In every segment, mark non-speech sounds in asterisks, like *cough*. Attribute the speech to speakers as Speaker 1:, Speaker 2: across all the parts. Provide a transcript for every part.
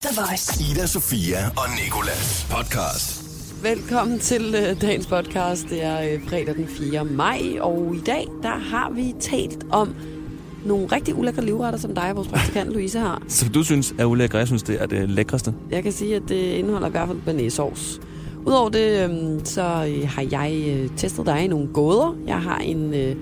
Speaker 1: The Voice.
Speaker 2: Ida, Sofia og Nikolas podcast.
Speaker 3: Velkommen til øh, dagens podcast. Det er øh, fredag den 4. maj, og i dag der har vi talt om nogle rigtig ulækre livretter, som dig og vores praktikant Louise har.
Speaker 4: Som du synes er ulækre, jeg synes, det er det lækreste.
Speaker 3: Jeg kan sige, at det indeholder i hvert fald banæsovs. Udover det, øhm, så øh, har jeg øh, testet dig i nogle gåder. Jeg har en, øh,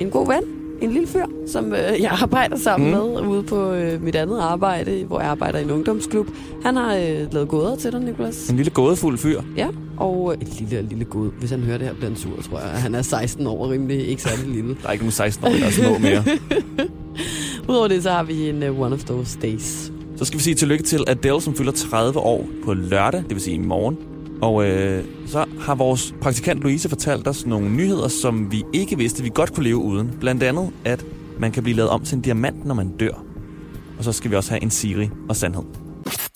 Speaker 3: en god ven, en lille fyr, som øh, *laughs* jeg arbejder sammen mm. med ude på øh, mit andet arbejde, hvor jeg arbejder i en ungdomsklub. Han har øh, lavet gåder til dig, Nicolas.
Speaker 4: En lille gådefuld fyr.
Speaker 3: Ja, og øh, en lille, lille god. Hvis han hører det her, bliver han sur, tror jeg. Han er 16 år, rimelig ikke særlig lille.
Speaker 4: Der er ikke nogen 16-årige, der er små mere.
Speaker 3: Udover det, så har vi en uh, One of Those Days.
Speaker 4: Så skal vi sige tillykke til Adele, som fylder 30 år på lørdag, det vil sige i morgen. Og øh, så har vores praktikant Louise fortalt os nogle nyheder, som vi ikke vidste, vi godt kunne leve uden. Blandt andet, at man kan blive lavet om til en diamant, når man dør. Og så skal vi også have en Siri og sandhed.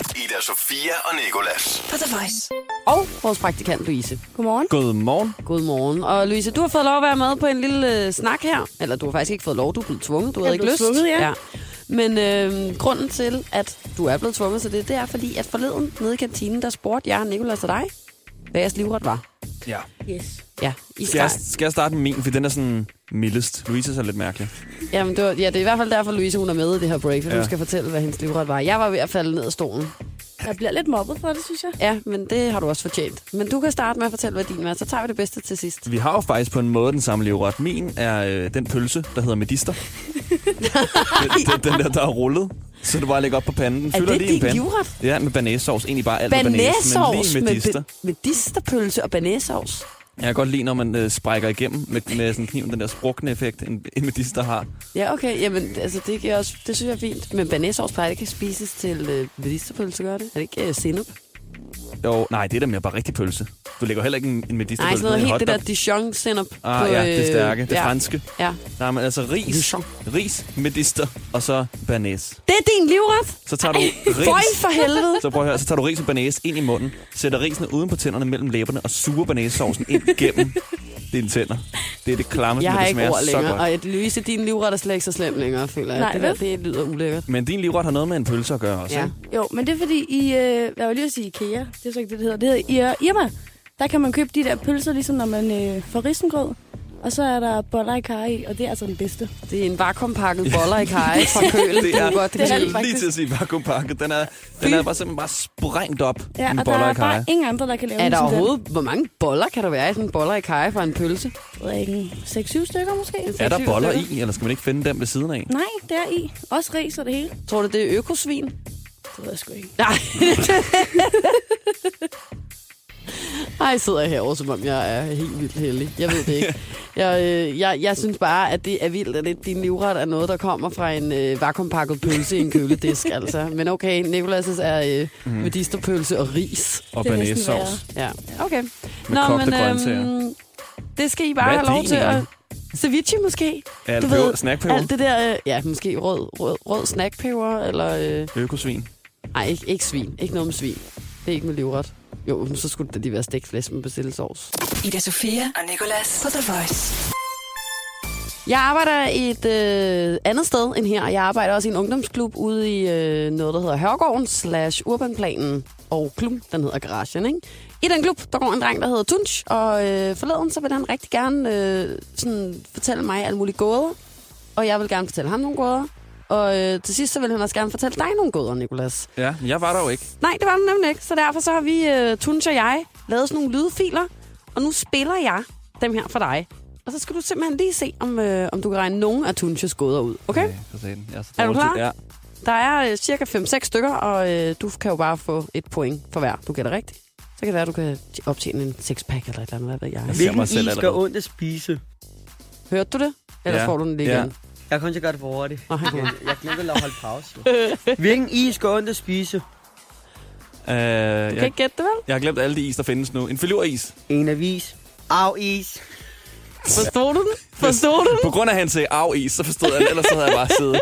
Speaker 2: Ida, Sofia og Nikolas.
Speaker 1: På The Voice.
Speaker 3: Og vores praktikant Louise.
Speaker 5: Godmorgen.
Speaker 4: Godmorgen.
Speaker 3: Godmorgen. Og Louise, du har fået lov at være med på en lille øh, snak her. Eller du har faktisk ikke fået lov, du er blevet tvunget. Du havde ikke
Speaker 5: blev
Speaker 3: lyst.
Speaker 5: tvunget, ja.
Speaker 3: Men øh, grunden til, at du er blevet tvunget til det, det er fordi, at forleden nede i kantinen, der spurgte jeg, Nicolas og dig, hvad jeres livret var.
Speaker 4: Ja.
Speaker 5: Yes.
Speaker 3: Ja, i
Speaker 4: Skal jeg,
Speaker 3: start.
Speaker 4: skal jeg starte med min, for den er sådan mildest. Louise er lidt mærkelig.
Speaker 3: Jamen, det var, ja, det er i hvert fald derfor, Louise, hun er med i det her break, for ja.
Speaker 4: Ja.
Speaker 3: hun skal fortælle, hvad hendes livret var. Jeg var ved at falde ned af stolen.
Speaker 5: Jeg bliver lidt mobbet for det, synes jeg.
Speaker 3: Ja, men det har du også fortjent. Men du kan starte med at fortælle, hvad din var, så tager vi det bedste til sidst.
Speaker 4: Vi har jo faktisk på en måde den samme livret. Min er øh, den pølse, der hedder
Speaker 3: *laughs*
Speaker 4: medister. den, den, den der, der er rullet. Så du bare lægger op på panden. Den
Speaker 3: Er
Speaker 4: fylder
Speaker 3: det
Speaker 4: lige en
Speaker 3: din
Speaker 4: pande.
Speaker 3: livret?
Speaker 4: Ja, med banæssovs. Egentlig bare alt med banæs, men
Speaker 3: Banæsovs
Speaker 4: lige
Speaker 3: med,
Speaker 4: medister.
Speaker 3: med, med medisterpølse og banæsovs.
Speaker 4: Jeg kan godt lide, når man øh, sprækker igennem med, med sådan kniven, den der sprukne effekt, en, en medister har.
Speaker 3: Ja, okay. Jamen, altså, det, kan jeg også, det synes jeg er fint. Men banæsovs plejer ikke at spises til øh, medisterpølse, gør det? Er det ikke øh, sinup?
Speaker 4: Jo, nej, det er da mere bare rigtig pølse. Du lægger heller ikke en, en medister
Speaker 3: Nej, sådan noget helt det der dijon sinup øh,
Speaker 4: Ah, ja, det stærke, det
Speaker 3: ja,
Speaker 4: franske.
Speaker 3: Ja.
Speaker 4: Nej, men altså ris,
Speaker 3: Dijon.
Speaker 4: ris, medister og så banæs.
Speaker 3: Det er din livret!
Speaker 4: Så tager du
Speaker 3: Føj
Speaker 4: ris,
Speaker 3: for helvede!
Speaker 4: Så prøv at høre, så tager du ris og banæs ind i munden, sætter risene uden på tænderne mellem læberne og suger banæssovsen ind gennem dine tænder. Det er det klamme,
Speaker 3: Jeg
Speaker 4: men
Speaker 3: har
Speaker 4: det
Speaker 3: ikke
Speaker 4: smager
Speaker 3: ord
Speaker 4: så
Speaker 3: længere.
Speaker 4: godt.
Speaker 3: Og at Louise, din livret er slet ikke så slem længere, føler jeg.
Speaker 5: Nej,
Speaker 3: det, der,
Speaker 5: vel?
Speaker 3: det lyder ulækkert.
Speaker 4: Men din livret har noget med en pølse at gøre også,
Speaker 3: Ja.
Speaker 4: ikke?
Speaker 5: Jo, men det er fordi, I, øh, jeg var lige at sige IKEA. Det er så ikke det, det hedder. Det hedder I- Irma. Der kan man købe de der pølser, ligesom når man øh, får risengrød. Og så er der boller i karry, i, og det er altså den bedste.
Speaker 3: Det er en vakuumpakket boller i
Speaker 4: *laughs*
Speaker 3: kaj fra kølen.
Speaker 4: Det er,
Speaker 3: du godt,
Speaker 4: det
Speaker 3: kan
Speaker 4: er
Speaker 3: lide.
Speaker 5: faktisk.
Speaker 4: lige til at sige vakuumpakket. Den er, den er bare simpelthen bare sprængt op
Speaker 5: Ja,
Speaker 4: ja, med
Speaker 5: og der
Speaker 4: boller
Speaker 5: er
Speaker 4: og kaj.
Speaker 5: bare ingen andre, der kan lave
Speaker 3: Er
Speaker 5: den
Speaker 3: der
Speaker 5: som den.
Speaker 3: overhovedet... Hvor mange boller kan der være i sådan en boller i kaj fra en pølse?
Speaker 5: Jeg ved ikke, en 6-7 stykker måske?
Speaker 4: Er der boller i, eller skal man ikke finde dem ved siden af?
Speaker 5: Nej, det er i. Også ris og det hele.
Speaker 3: Tror du, det er økosvin?
Speaker 5: Det ved jeg sgu ikke.
Speaker 3: Nej. Ej, jeg sidder herovre, som om jeg er helt vildt heldig. Jeg ved det ikke. Jeg, øh, jeg, jeg synes bare, at det er vildt, at det, din livret er noget, der kommer fra en øh, vakuumpakket pølse i en
Speaker 4: *laughs*
Speaker 3: køledisk. altså. Men okay, Nicolas' er øh,
Speaker 4: Mhm.
Speaker 3: medisterpølse og ris.
Speaker 4: Og
Speaker 5: Det er næsten
Speaker 4: banæssovs.
Speaker 3: Ja, okay.
Speaker 4: Med kogte grønsager.
Speaker 3: øhm, det skal I
Speaker 4: Hvad
Speaker 3: bare
Speaker 4: er
Speaker 3: have lov
Speaker 4: din
Speaker 3: til at...
Speaker 4: egentlig?
Speaker 3: Ceviche måske?
Speaker 4: Ja, det peber- snackpeber.
Speaker 3: Alt det der, øh, ja, måske rød, rød, rød snackpeber, eller... Øh,
Speaker 4: Økosvin.
Speaker 3: nej, ikke, ikke svin. Ikke noget med svin. Det er ikke med livret. Jo, men så skulle det da lige være stegt flæsk med persillesovs.
Speaker 1: Ida Sofia og Nicolas. På The Voice.
Speaker 3: Jeg arbejder et øh, andet sted end her. Jeg arbejder også i en ungdomsklub ude i øh, noget, der hedder Hørgården slash Urbanplanen. Og klubben, den hedder Garagen, ikke? I den klub, der går en dreng, der hedder Tunch, og øh, forleden, så vil han rigtig gerne øh, sådan, fortælle mig alle mulige gåder. Og jeg vil gerne fortælle ham nogle gåder. Og øh, til sidst, så vil han også gerne fortælle dig nogle gåder, Nicolas.
Speaker 4: Ja, men jeg var der jo ikke.
Speaker 3: Nej, det var den nemlig ikke. Så derfor så har vi, uh, Tunch og jeg, lavet sådan nogle lydfiler. Og nu spiller jeg dem her for dig. Og så skal du simpelthen lige se, om, øh, om du kan regne nogen af Tunches gåder ud. Okay?
Speaker 4: Nej, for satan. Jeg er, så
Speaker 3: Er du
Speaker 4: dårlig til-
Speaker 3: klar?
Speaker 4: Ja.
Speaker 3: Der er øh, cirka 5-6 stykker, og øh, du kan jo bare få et point for hver. Du gætter rigtigt. Så kan det være, at du kan t- optjene en sixpack eller et eller andet, hvad ved jeg.
Speaker 4: Jeg ser
Speaker 6: Hvilken
Speaker 4: mig
Speaker 6: is
Speaker 4: selv
Speaker 6: gør
Speaker 4: allerede.
Speaker 6: ondt at spise?
Speaker 3: Hørte du det? Ellers ja.
Speaker 4: Ja.
Speaker 3: får du den lige
Speaker 4: Ja.
Speaker 3: igen.
Speaker 6: Jeg kom til at gøre det for hurtigt.
Speaker 3: Nå, han
Speaker 6: Jeg,
Speaker 3: kan-
Speaker 6: jeg glemte at holde pause. jo. Hvilken is gør ondt at spise?
Speaker 4: Øh,
Speaker 3: Du kan
Speaker 4: jeg,
Speaker 3: ikke gætte det, vel?
Speaker 4: jeg har glemt alle de is, der findes nu. En filuris.
Speaker 6: En avis. Au is.
Speaker 3: Forstod du den? Forstod du den?
Speaker 4: På grund af, at han sagde af is, så forstod jeg det. Ellers så havde jeg bare siddet.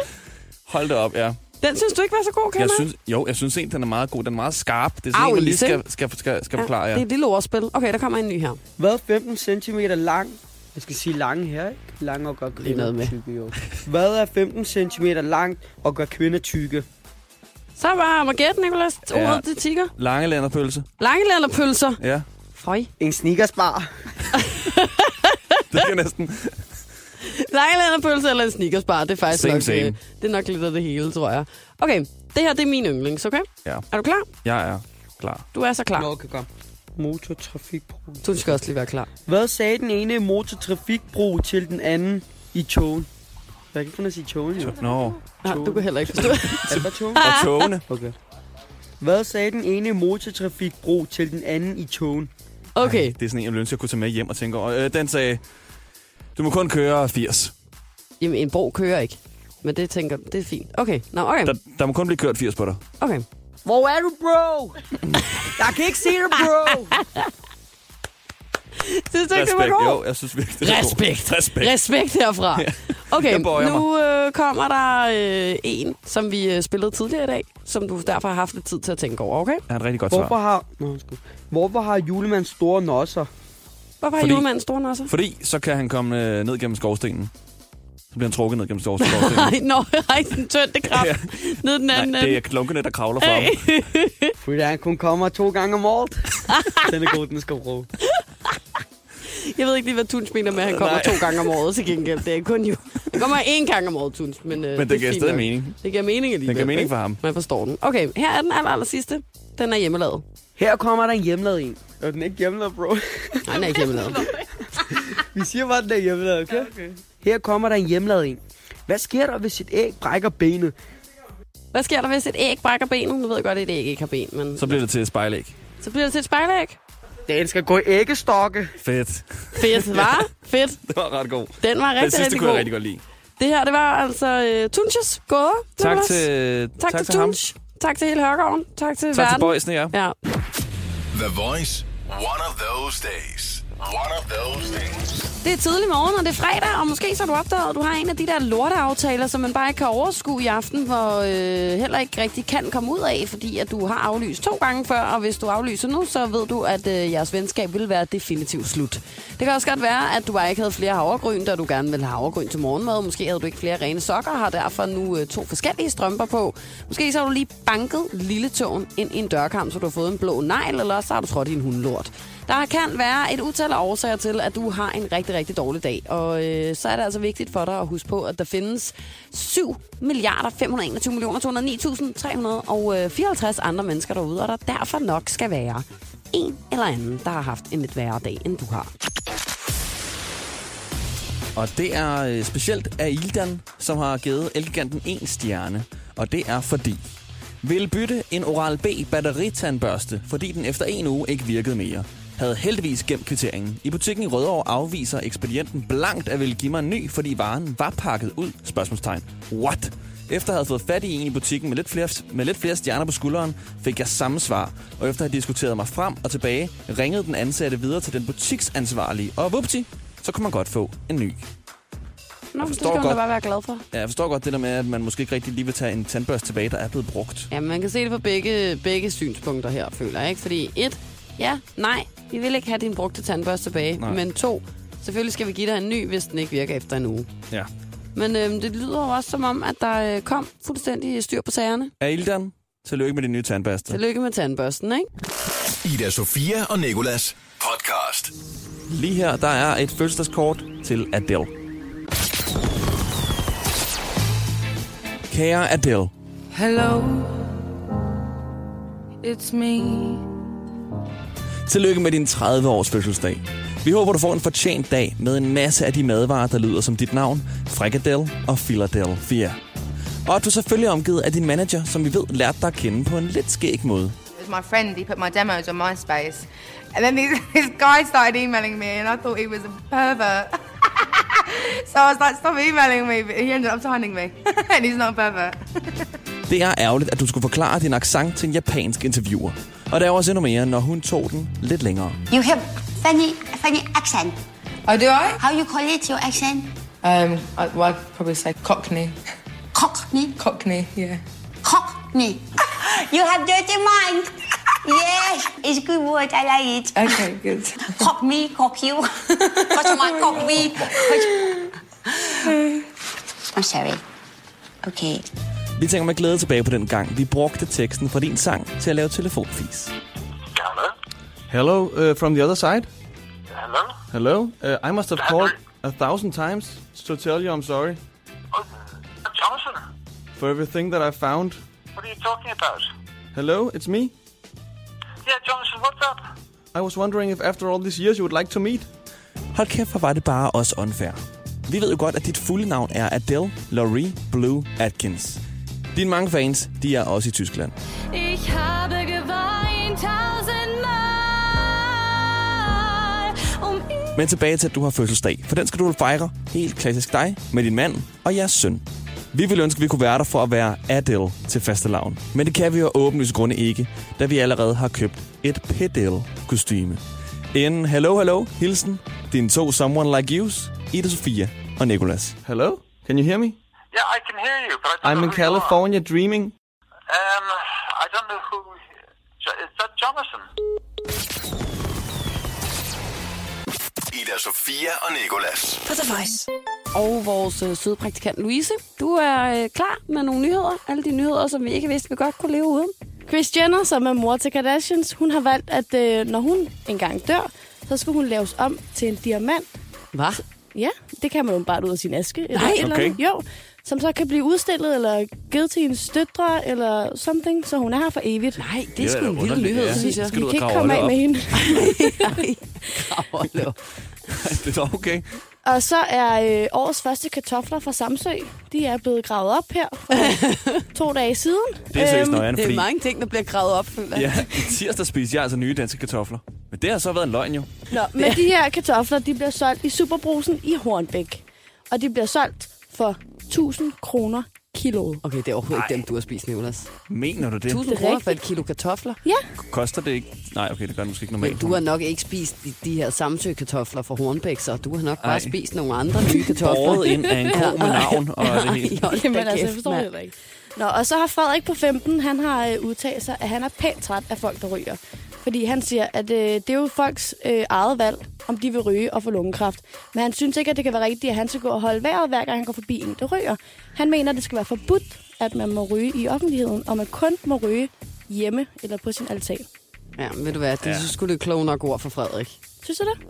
Speaker 4: Hold da op, ja.
Speaker 3: Den synes du ikke var så god, kan
Speaker 4: Jeg synes, jo, jeg synes egentlig, den er meget god. Den er meget skarp. Det er
Speaker 3: Arv
Speaker 4: sådan en, man lige
Speaker 3: is, ikke?
Speaker 4: skal, skal, skal, skal
Speaker 3: ja,
Speaker 4: forklare,
Speaker 3: Det
Speaker 4: ja.
Speaker 3: er et lille ordspil. Okay, der kommer en ny her.
Speaker 6: Hvad 15 cm lang? Jeg skal sige lange her, ikke? Lange og gør
Speaker 3: noget
Speaker 6: kvinder
Speaker 3: med.
Speaker 6: tykke, jo. Hvad er 15 cm langt og gør kvinder tykke?
Speaker 3: Så bare om at gætte, Nicolas.
Speaker 4: Ja.
Speaker 3: Ordet, det tigger.
Speaker 4: Langelænderpølse.
Speaker 3: Langelænderpølser.
Speaker 4: Ja, *laughs*
Speaker 3: Føj.
Speaker 6: En sneakersbar.
Speaker 4: det er næsten...
Speaker 3: Langelænderpølse eller en sneakersbar, det er faktisk
Speaker 4: Same,
Speaker 3: nok, øh,
Speaker 4: same.
Speaker 3: det er nok lidt af det hele, tror jeg. Okay, det her det er min yndlings, okay?
Speaker 4: Ja.
Speaker 3: Er du klar?
Speaker 4: Jeg er klar.
Speaker 3: Du er så klar.
Speaker 6: Nå, okay, kom. Motortrafikbro.
Speaker 3: Du skal også lige være klar.
Speaker 6: Hvad sagde den ene motortrafikbro til den anden i togen? Jeg kan ikke finde at sige togen, jo.
Speaker 4: Nå,
Speaker 3: Nej, du kan heller ikke forstå. *laughs*
Speaker 6: Er det bare togen?
Speaker 4: og togene.
Speaker 6: Okay. Hvad sagde den ene motortrafikbro til den anden i togen?
Speaker 3: Okay,
Speaker 4: Det er sådan en, jeg ville ønske, jeg kunne tage med hjem og tænke over. Øh, den sagde, du må kun køre 80.
Speaker 3: jamen en bro kører ikke. Men det tænker det er fint. Okay, nå, okay,
Speaker 4: Der, der må kun blive kørt 80 på dig.
Speaker 3: okay.
Speaker 6: Hvor er du, *laughs* bro? jeg kan ikke se dig, *laughs* bro.
Speaker 3: Synes du ikke, det var god?
Speaker 4: Jo, jeg synes virkelig, det er god.
Speaker 3: Respekt.
Speaker 4: Respekt.
Speaker 3: Respekt herfra. Okay,
Speaker 4: Jeg bøjer
Speaker 3: nu øh, kommer der øh, en, som vi øh, spillede tidligere i dag, som du derfor har haft lidt tid til at tænke over, okay?
Speaker 4: Ja, et rigtig godt
Speaker 6: Hvorfor
Speaker 4: svar.
Speaker 6: har... Nå, undskyld. Hvorfor har julemanden store nosser?
Speaker 3: Hvorfor har
Speaker 4: Fordi-
Speaker 3: julemanden store nosser?
Speaker 4: Fordi så kan han komme øh, ned gennem skovstenen. Så bliver han trukket ned gennem skovstenen.
Speaker 3: *laughs*
Speaker 4: Nej,
Speaker 3: Nej, nå, nej, den tønde kraft. Ned den anden.
Speaker 4: det er
Speaker 3: ende.
Speaker 4: klunkene, der kravler fra ham.
Speaker 6: Fordi han kun kommer to gange om *laughs* året. den er god, den skal bro.
Speaker 3: øhm, Jeg ved ikke lige, hvad Tunes mener med, at han kommer
Speaker 4: Nej.
Speaker 3: to gange om året til gengæld. Det er kun jo. Han kommer én gang om året, Tunes. Men, øh,
Speaker 4: Men
Speaker 3: er
Speaker 4: det giver
Speaker 3: fint
Speaker 4: stadig
Speaker 3: nok.
Speaker 4: mening.
Speaker 3: Det giver mening alligevel.
Speaker 4: Den giver mening
Speaker 3: ikke?
Speaker 4: for ham.
Speaker 3: Man forstår den. Okay, her er den aller, aller sidste. Den er hjemmelavet.
Speaker 6: Her kommer der en hjemlad en. Og den er ikke hjemlad, bro.
Speaker 3: Nej, den er ikke hjemmelavet.
Speaker 6: *laughs* Vi siger bare, den er hjemlad, okay? okay? Her kommer der en hjemlad en. Hvad sker der, hvis et æg brækker benet?
Speaker 3: Hvad sker der, hvis et æg brækker benet? Nu ved jeg godt, at et æg ikke har ben, men
Speaker 4: Så bliver det til et spejlæg.
Speaker 3: så bliver det til et spejlæg.
Speaker 6: Den skal gå i æggestokke.
Speaker 4: Fedt. *laughs*
Speaker 3: Fedt, var? Fedt.
Speaker 4: Det var ret god.
Speaker 3: Den var
Speaker 4: Den
Speaker 3: rigtig,
Speaker 4: sidste
Speaker 3: rigtig
Speaker 4: kunne
Speaker 3: god.
Speaker 4: jeg rigtig godt lide.
Speaker 3: Det her, det var altså uh, Tunches gåder.
Speaker 4: Tak
Speaker 3: Nicolas.
Speaker 4: til,
Speaker 3: tak, tak til,
Speaker 4: ham.
Speaker 3: Tunch. Tak til hele Hørgården. Tak til
Speaker 4: Tak til
Speaker 3: verden.
Speaker 4: Bøjsen, ja.
Speaker 3: Ja,
Speaker 2: The Voice. One of those days. One of those days.
Speaker 3: Det er tidlig morgen, og det er fredag, og måske så har du opdaget, at du har en af de der lorteaftaler, som man bare ikke kan overskue i aften, hvor øh, heller ikke rigtig kan komme ud af, fordi at du har aflyst to gange før, og hvis du aflyser nu, så ved du, at øh, jeres venskab vil være definitivt slut. Det kan også godt være, at du bare ikke havde flere havregryn, da du gerne ville have havregryn til morgenmad. Måske havde du ikke flere rene sokker, og har derfor nu øh, to forskellige strømper på. Måske så har du lige banket lille tåen ind i en dørkamp, så du har fået en blå negl, eller også så har du trådt i en hundelort. Der kan være et utal af årsager til, at du har en rigtig, rigtig dårlig dag. Og øh, så er det altså vigtigt for dig at huske på, at der findes 7 milliarder 521 millioner 209.354 øh, andre mennesker derude, og der derfor nok skal være en eller anden, der har haft en lidt værre dag, end du har.
Speaker 4: Og det er øh, specielt af Ildan, som har givet Elgiganten en stjerne. Og det er fordi... Vil bytte en Oral-B batteritandbørste, fordi den efter en uge ikke virkede mere. Havde heldigvis gemt kvitteringen. I butikken i Rødovre afviser ekspedienten blankt at ville give mig en ny, fordi varen var pakket ud. Spørgsmålstegn. What? Efter at have fået fat i en i butikken med lidt, flere, med lidt flere stjerner på skulderen, fik jeg samme svar. Og efter at have diskuteret mig frem og tilbage, ringede den ansatte videre til den butiksansvarlige. Og vupti, så kunne man godt få en ny.
Speaker 3: Nå, det skal
Speaker 4: forstår
Speaker 3: man da
Speaker 4: godt.
Speaker 3: bare være glad for.
Speaker 4: Ja, jeg forstår godt det der med, at man måske ikke rigtig lige vil tage en tandbørste tilbage, der er blevet brugt.
Speaker 3: Ja, man kan se det på begge, begge synspunkter her, føler jeg. Ikke? Fordi et, ja, nej, vi vil ikke have din brugte tandbørste tilbage.
Speaker 4: Nej.
Speaker 3: Nej. Men to, selvfølgelig skal vi give dig en ny, hvis den ikke virker efter en uge.
Speaker 4: Ja.
Speaker 3: Men øhm, det lyder jo også som om, at der øh, kom fuldstændig styr på sagerne.
Speaker 4: Er Ildan, tillykke med din nye tandbørste.
Speaker 3: Tillykke med tandbørsten, ikke?
Speaker 2: Ida Sofia og Nikolas podcast.
Speaker 4: Lige her, der er et fødselsdagskort til Adele. Kære Adele,
Speaker 7: Hello, it's me.
Speaker 4: tillykke med din 30-års fødselsdag. Vi håber, du får en fortjent dag med en masse af de madvarer, der lyder som dit navn, Frikadelle og Philadelphia. Og at du selvfølgelig er omgivet af din manager, som vi ved lærte dig at kende på en lidt skæg måde.
Speaker 8: It was my friend. He put my demos on MySpace, and then this, *laughs* this guy started emailing me, and I thought he was a pervert. *laughs* so I was like, "Stop emailing me!" But he ended up signing me, *laughs* and he's not a pervert.
Speaker 4: Det er ærgerligt, at du skulle forklare din accent til en japansk interviewer. Og der er også endnu mere, når hun tog den lidt længere.
Speaker 9: You have funny, funny accent.
Speaker 8: Oh, do I?
Speaker 9: How you call it, your accent?
Speaker 7: Um, I, well, I'd probably say Cockney.
Speaker 9: Cockney?
Speaker 7: Cockney, yeah.
Speaker 9: Cockney. *laughs* you have dirty mind. *laughs* yes, it's good word, I like it.
Speaker 7: Okay, good.
Speaker 9: Cock me, cock you. *laughs* Cock my, cock me. cock- I'm sorry. Okay.
Speaker 4: Vi tænker med glæde tilbage på den gang, vi brugte teksten fra din sang til at lave telefonfis.
Speaker 10: Hello uh, from the other side. Hello. Hello. Uh, I must have called a thousand times to tell you I'm sorry
Speaker 11: Oh, Thompson,
Speaker 10: for everything that I found.
Speaker 11: what are you talking about?
Speaker 10: Hello, it's me.
Speaker 11: Yeah, Johnson, what's up?
Speaker 10: I was wondering if after all these years you would like to meet.
Speaker 4: Hold kæft, hvor var det bare også unfair. Vi ved jo godt, at dit fulde navn er Adele Laurie Blue Atkins. Dine mange fans, de er også i Tyskland.
Speaker 12: Ich habe geweint tausendmal um ihn.
Speaker 4: Men tilbage til, at du har fødselsdag, for den skal du fejre helt klassisk dig med din mand og jeres søn. Vi ville ønske, at vi kunne være der for at være Adele til fastelavn. Men det kan vi jo af åbenlyse grunde ikke, da vi allerede har købt et pedel kostume En hello, hello, hilsen, dine to someone like yous, Ida Sofia og Nicolas.
Speaker 10: Hello, can you hear me?
Speaker 11: Yeah, I can hear you, but I don't
Speaker 10: I'm
Speaker 11: know
Speaker 10: in
Speaker 11: who you are.
Speaker 10: California dreaming.
Speaker 11: Um, I don't know who. Jo- Is that Jonathan?
Speaker 2: Ida Sofia og Nikolas.
Speaker 3: For The Voice. Og vores øh, søde praktikant Louise, du er øh, klar med nogle nyheder. Alle de nyheder, som vi ikke vidste, vi godt kunne leve uden.
Speaker 5: Kris Jenner, som er mor til Kardashians, hun har valgt, at øh, når hun engang dør, så skal hun laves om til en diamant.
Speaker 3: Hvad?
Speaker 5: Ja, det kan man jo bare ud af sin aske. Eller
Speaker 3: Nej.
Speaker 5: et eller
Speaker 4: Okay.
Speaker 5: andet. Jo, som så kan blive udstillet eller givet til hendes døtre eller something, så hun er her for evigt.
Speaker 3: Nej, det er
Speaker 4: Det
Speaker 3: sgu
Speaker 4: er da
Speaker 3: en vild
Speaker 4: underligt,
Speaker 3: nyhed,
Speaker 4: ja.
Speaker 3: synes jeg.
Speaker 4: Skal du ud
Speaker 5: Vi
Speaker 4: og
Speaker 5: kan ikke
Speaker 4: grave
Speaker 5: komme af
Speaker 4: Olle
Speaker 5: med hende.
Speaker 4: *laughs*
Speaker 3: Ej,
Speaker 4: *laughs* det er okay.
Speaker 5: Og så er øh, årets første kartofler fra Samsø. De er blevet gravet op her
Speaker 4: *laughs*
Speaker 5: for to dage siden.
Speaker 4: Det er seriøst
Speaker 5: Øhm,
Speaker 4: nøjeren,
Speaker 3: Det er
Speaker 4: fordi
Speaker 3: mange ting, der bliver gravet op, føler jeg.
Speaker 4: ja, i tirsdag spiste jeg altså nye danske kartofler. Men det har så været en løgn jo.
Speaker 5: Nå, men de her kartofler, de bliver solgt i Superbrusen i Hornbæk. Og de bliver solgt for 1000 kroner kiloet.
Speaker 3: Okay, det er overhovedet ikke dem, du har spist, Nicolas.
Speaker 4: Mener du det?
Speaker 3: 1000
Speaker 5: Det er
Speaker 3: kroner
Speaker 5: rigtigt.
Speaker 3: for et kilo kartofler.
Speaker 5: Ja,
Speaker 4: Koster det ikke? Nej, okay, det gør det måske ikke
Speaker 3: Men
Speaker 4: normalt.
Speaker 3: du har nok ikke spist de, de her samsøkartofler fra Hornbæk, så du har nok bare
Speaker 4: Ej.
Speaker 3: spist nogle andre nye kartofler.
Speaker 4: Borget ind af en ko med navn
Speaker 3: *laughs*
Speaker 4: og det hele.
Speaker 3: Hold da
Speaker 5: jamen altså, jeg
Speaker 3: kæft,
Speaker 5: forstår det
Speaker 3: mand.
Speaker 5: heller ikke. Nå, og så har Frederik på 15, han har øh, udtalt sig, at han er pænt træt af folk, der ryger. Fordi han siger, at øh, det er jo folks øh, eget valg, om de vil ryge og få lungekræft. Men han synes ikke, at det kan være rigtigt, at han skal gå og holde vejret, hver gang han går forbi en, der ryger. Han mener, at det skal være forbudt, at man må ryge i offentligheden, og man kun må ryge hjemme eller på sin altan.
Speaker 3: Ja, men ved du hvad, det ja.
Speaker 4: Ja.
Speaker 3: synes sgu, det er kloge nok ord for Frederik.
Speaker 5: Synes du det?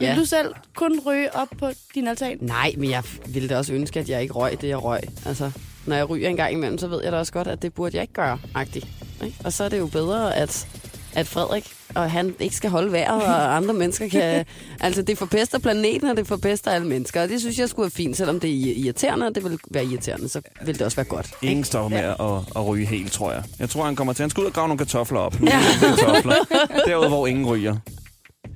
Speaker 3: Ja.
Speaker 5: Vil du selv kun ryge op på din altan?
Speaker 3: Nej, men jeg ville da også ønske, at jeg ikke røg det, jeg røg. Altså, når jeg ryger en gang imellem, så ved jeg da også godt, at det burde jeg ikke gøre, agtigt. Ikke? Og så er det jo bedre, at, at Frederik og han ikke skal holde vejret,
Speaker 5: *laughs*
Speaker 3: og andre mennesker kan... altså, det forpester planeten, og det forpester alle mennesker. Og det synes jeg skulle være fint, selvom det er irriterende, og det vil være irriterende, så vil det også være godt.
Speaker 4: Ingen stopper med at, at ryge helt, tror jeg. Jeg tror, han kommer til, han skal ud og grave nogle kartofler op. Nogle ja. kartofler.
Speaker 3: *laughs*
Speaker 4: Derude, hvor ingen ryger.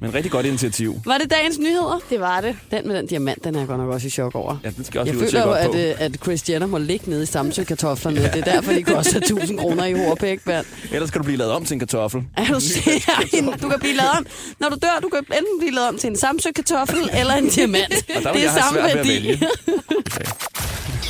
Speaker 4: Men rigtig godt initiativ.
Speaker 3: Var det dagens nyheder?
Speaker 5: Det var det.
Speaker 3: Den med den diamant, den er jeg godt nok også i chok over.
Speaker 4: Ja, den skal jeg også
Speaker 3: Jeg
Speaker 4: lige ud og
Speaker 3: føler jo,
Speaker 4: tjekke op
Speaker 3: at,
Speaker 4: på.
Speaker 3: øh, at Chris Jenner må ligge nede i Samsø-kartoflerne. Det er derfor, de koster 1000 kroner i Horpæk, mand.
Speaker 4: Ellers skal du blive lavet om til en kartoffel.
Speaker 3: Er
Speaker 4: *laughs*
Speaker 3: du seriøs? Du kan blive lavet om. Når du dør, du kan enten blive lavet om til en
Speaker 4: *laughs*
Speaker 3: Samsø-kartoffel eller en diamant.
Speaker 4: Og der vil
Speaker 3: det er
Speaker 4: jeg have
Speaker 3: samme
Speaker 4: svært ved at
Speaker 3: værdi. *laughs*
Speaker 4: vælge.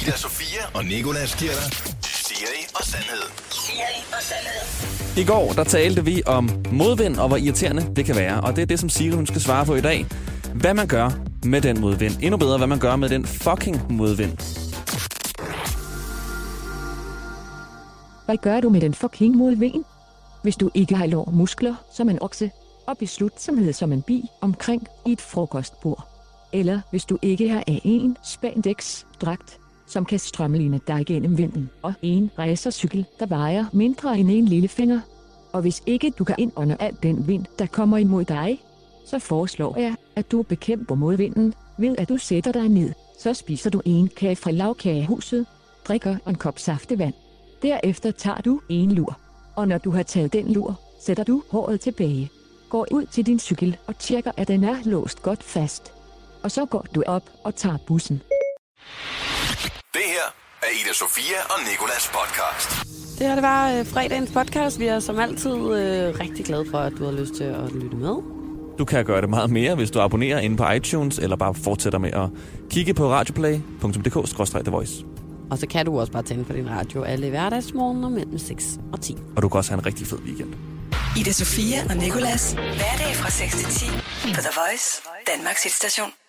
Speaker 2: Ida Sofia og Nikolas giver dig Siri og Sandhed. Siri og Sandhed.
Speaker 4: I går, der talte vi om modvind og hvor irriterende det kan være. Og det er det, som Siri, hun skal svare på i dag. Hvad man gør med den modvind. Endnu bedre, hvad man gør med den fucking modvind.
Speaker 13: Hvad gør du med den fucking modvind? Hvis du ikke har lår muskler som en okse, og beslutsomhed som en bi omkring i et frokostbord. Eller hvis du ikke har en spandex-dragt, som kan strømligne dig gennem vinden, og en racercykel, der vejer mindre end en lillefinger. Og hvis ikke du kan ind under alt den vind, der kommer imod dig, så foreslår jeg, at du bekæmper modvinden, ved at du sætter dig ned, så spiser du en kage fra lavkagehuset, drikker en kop saftevand. Derefter tager du en lur. Og når du har taget den lur, sætter du håret tilbage. Går ud til din cykel og tjekker, at den er låst godt fast. Og så går du op og tager bussen.
Speaker 2: Det her er Ida Sofia og Nikolas podcast.
Speaker 3: Det her det var øh, fredagens podcast. Vi er som altid øh, rigtig glade for, at du har lyst til at lytte med.
Speaker 4: Du kan gøre det meget mere, hvis du abonnerer inde på iTunes, eller bare fortsætter med at kigge på radioplay.dk-the voice.
Speaker 3: Og så kan du også bare tænde for din radio alle hverdagsmorgener mellem 6 og 10.
Speaker 4: Og du kan også have en rigtig fed weekend.
Speaker 1: Ida Sofia og Nikolas. Hverdag fra 6 til 10 på The Voice, Danmarks hitstation.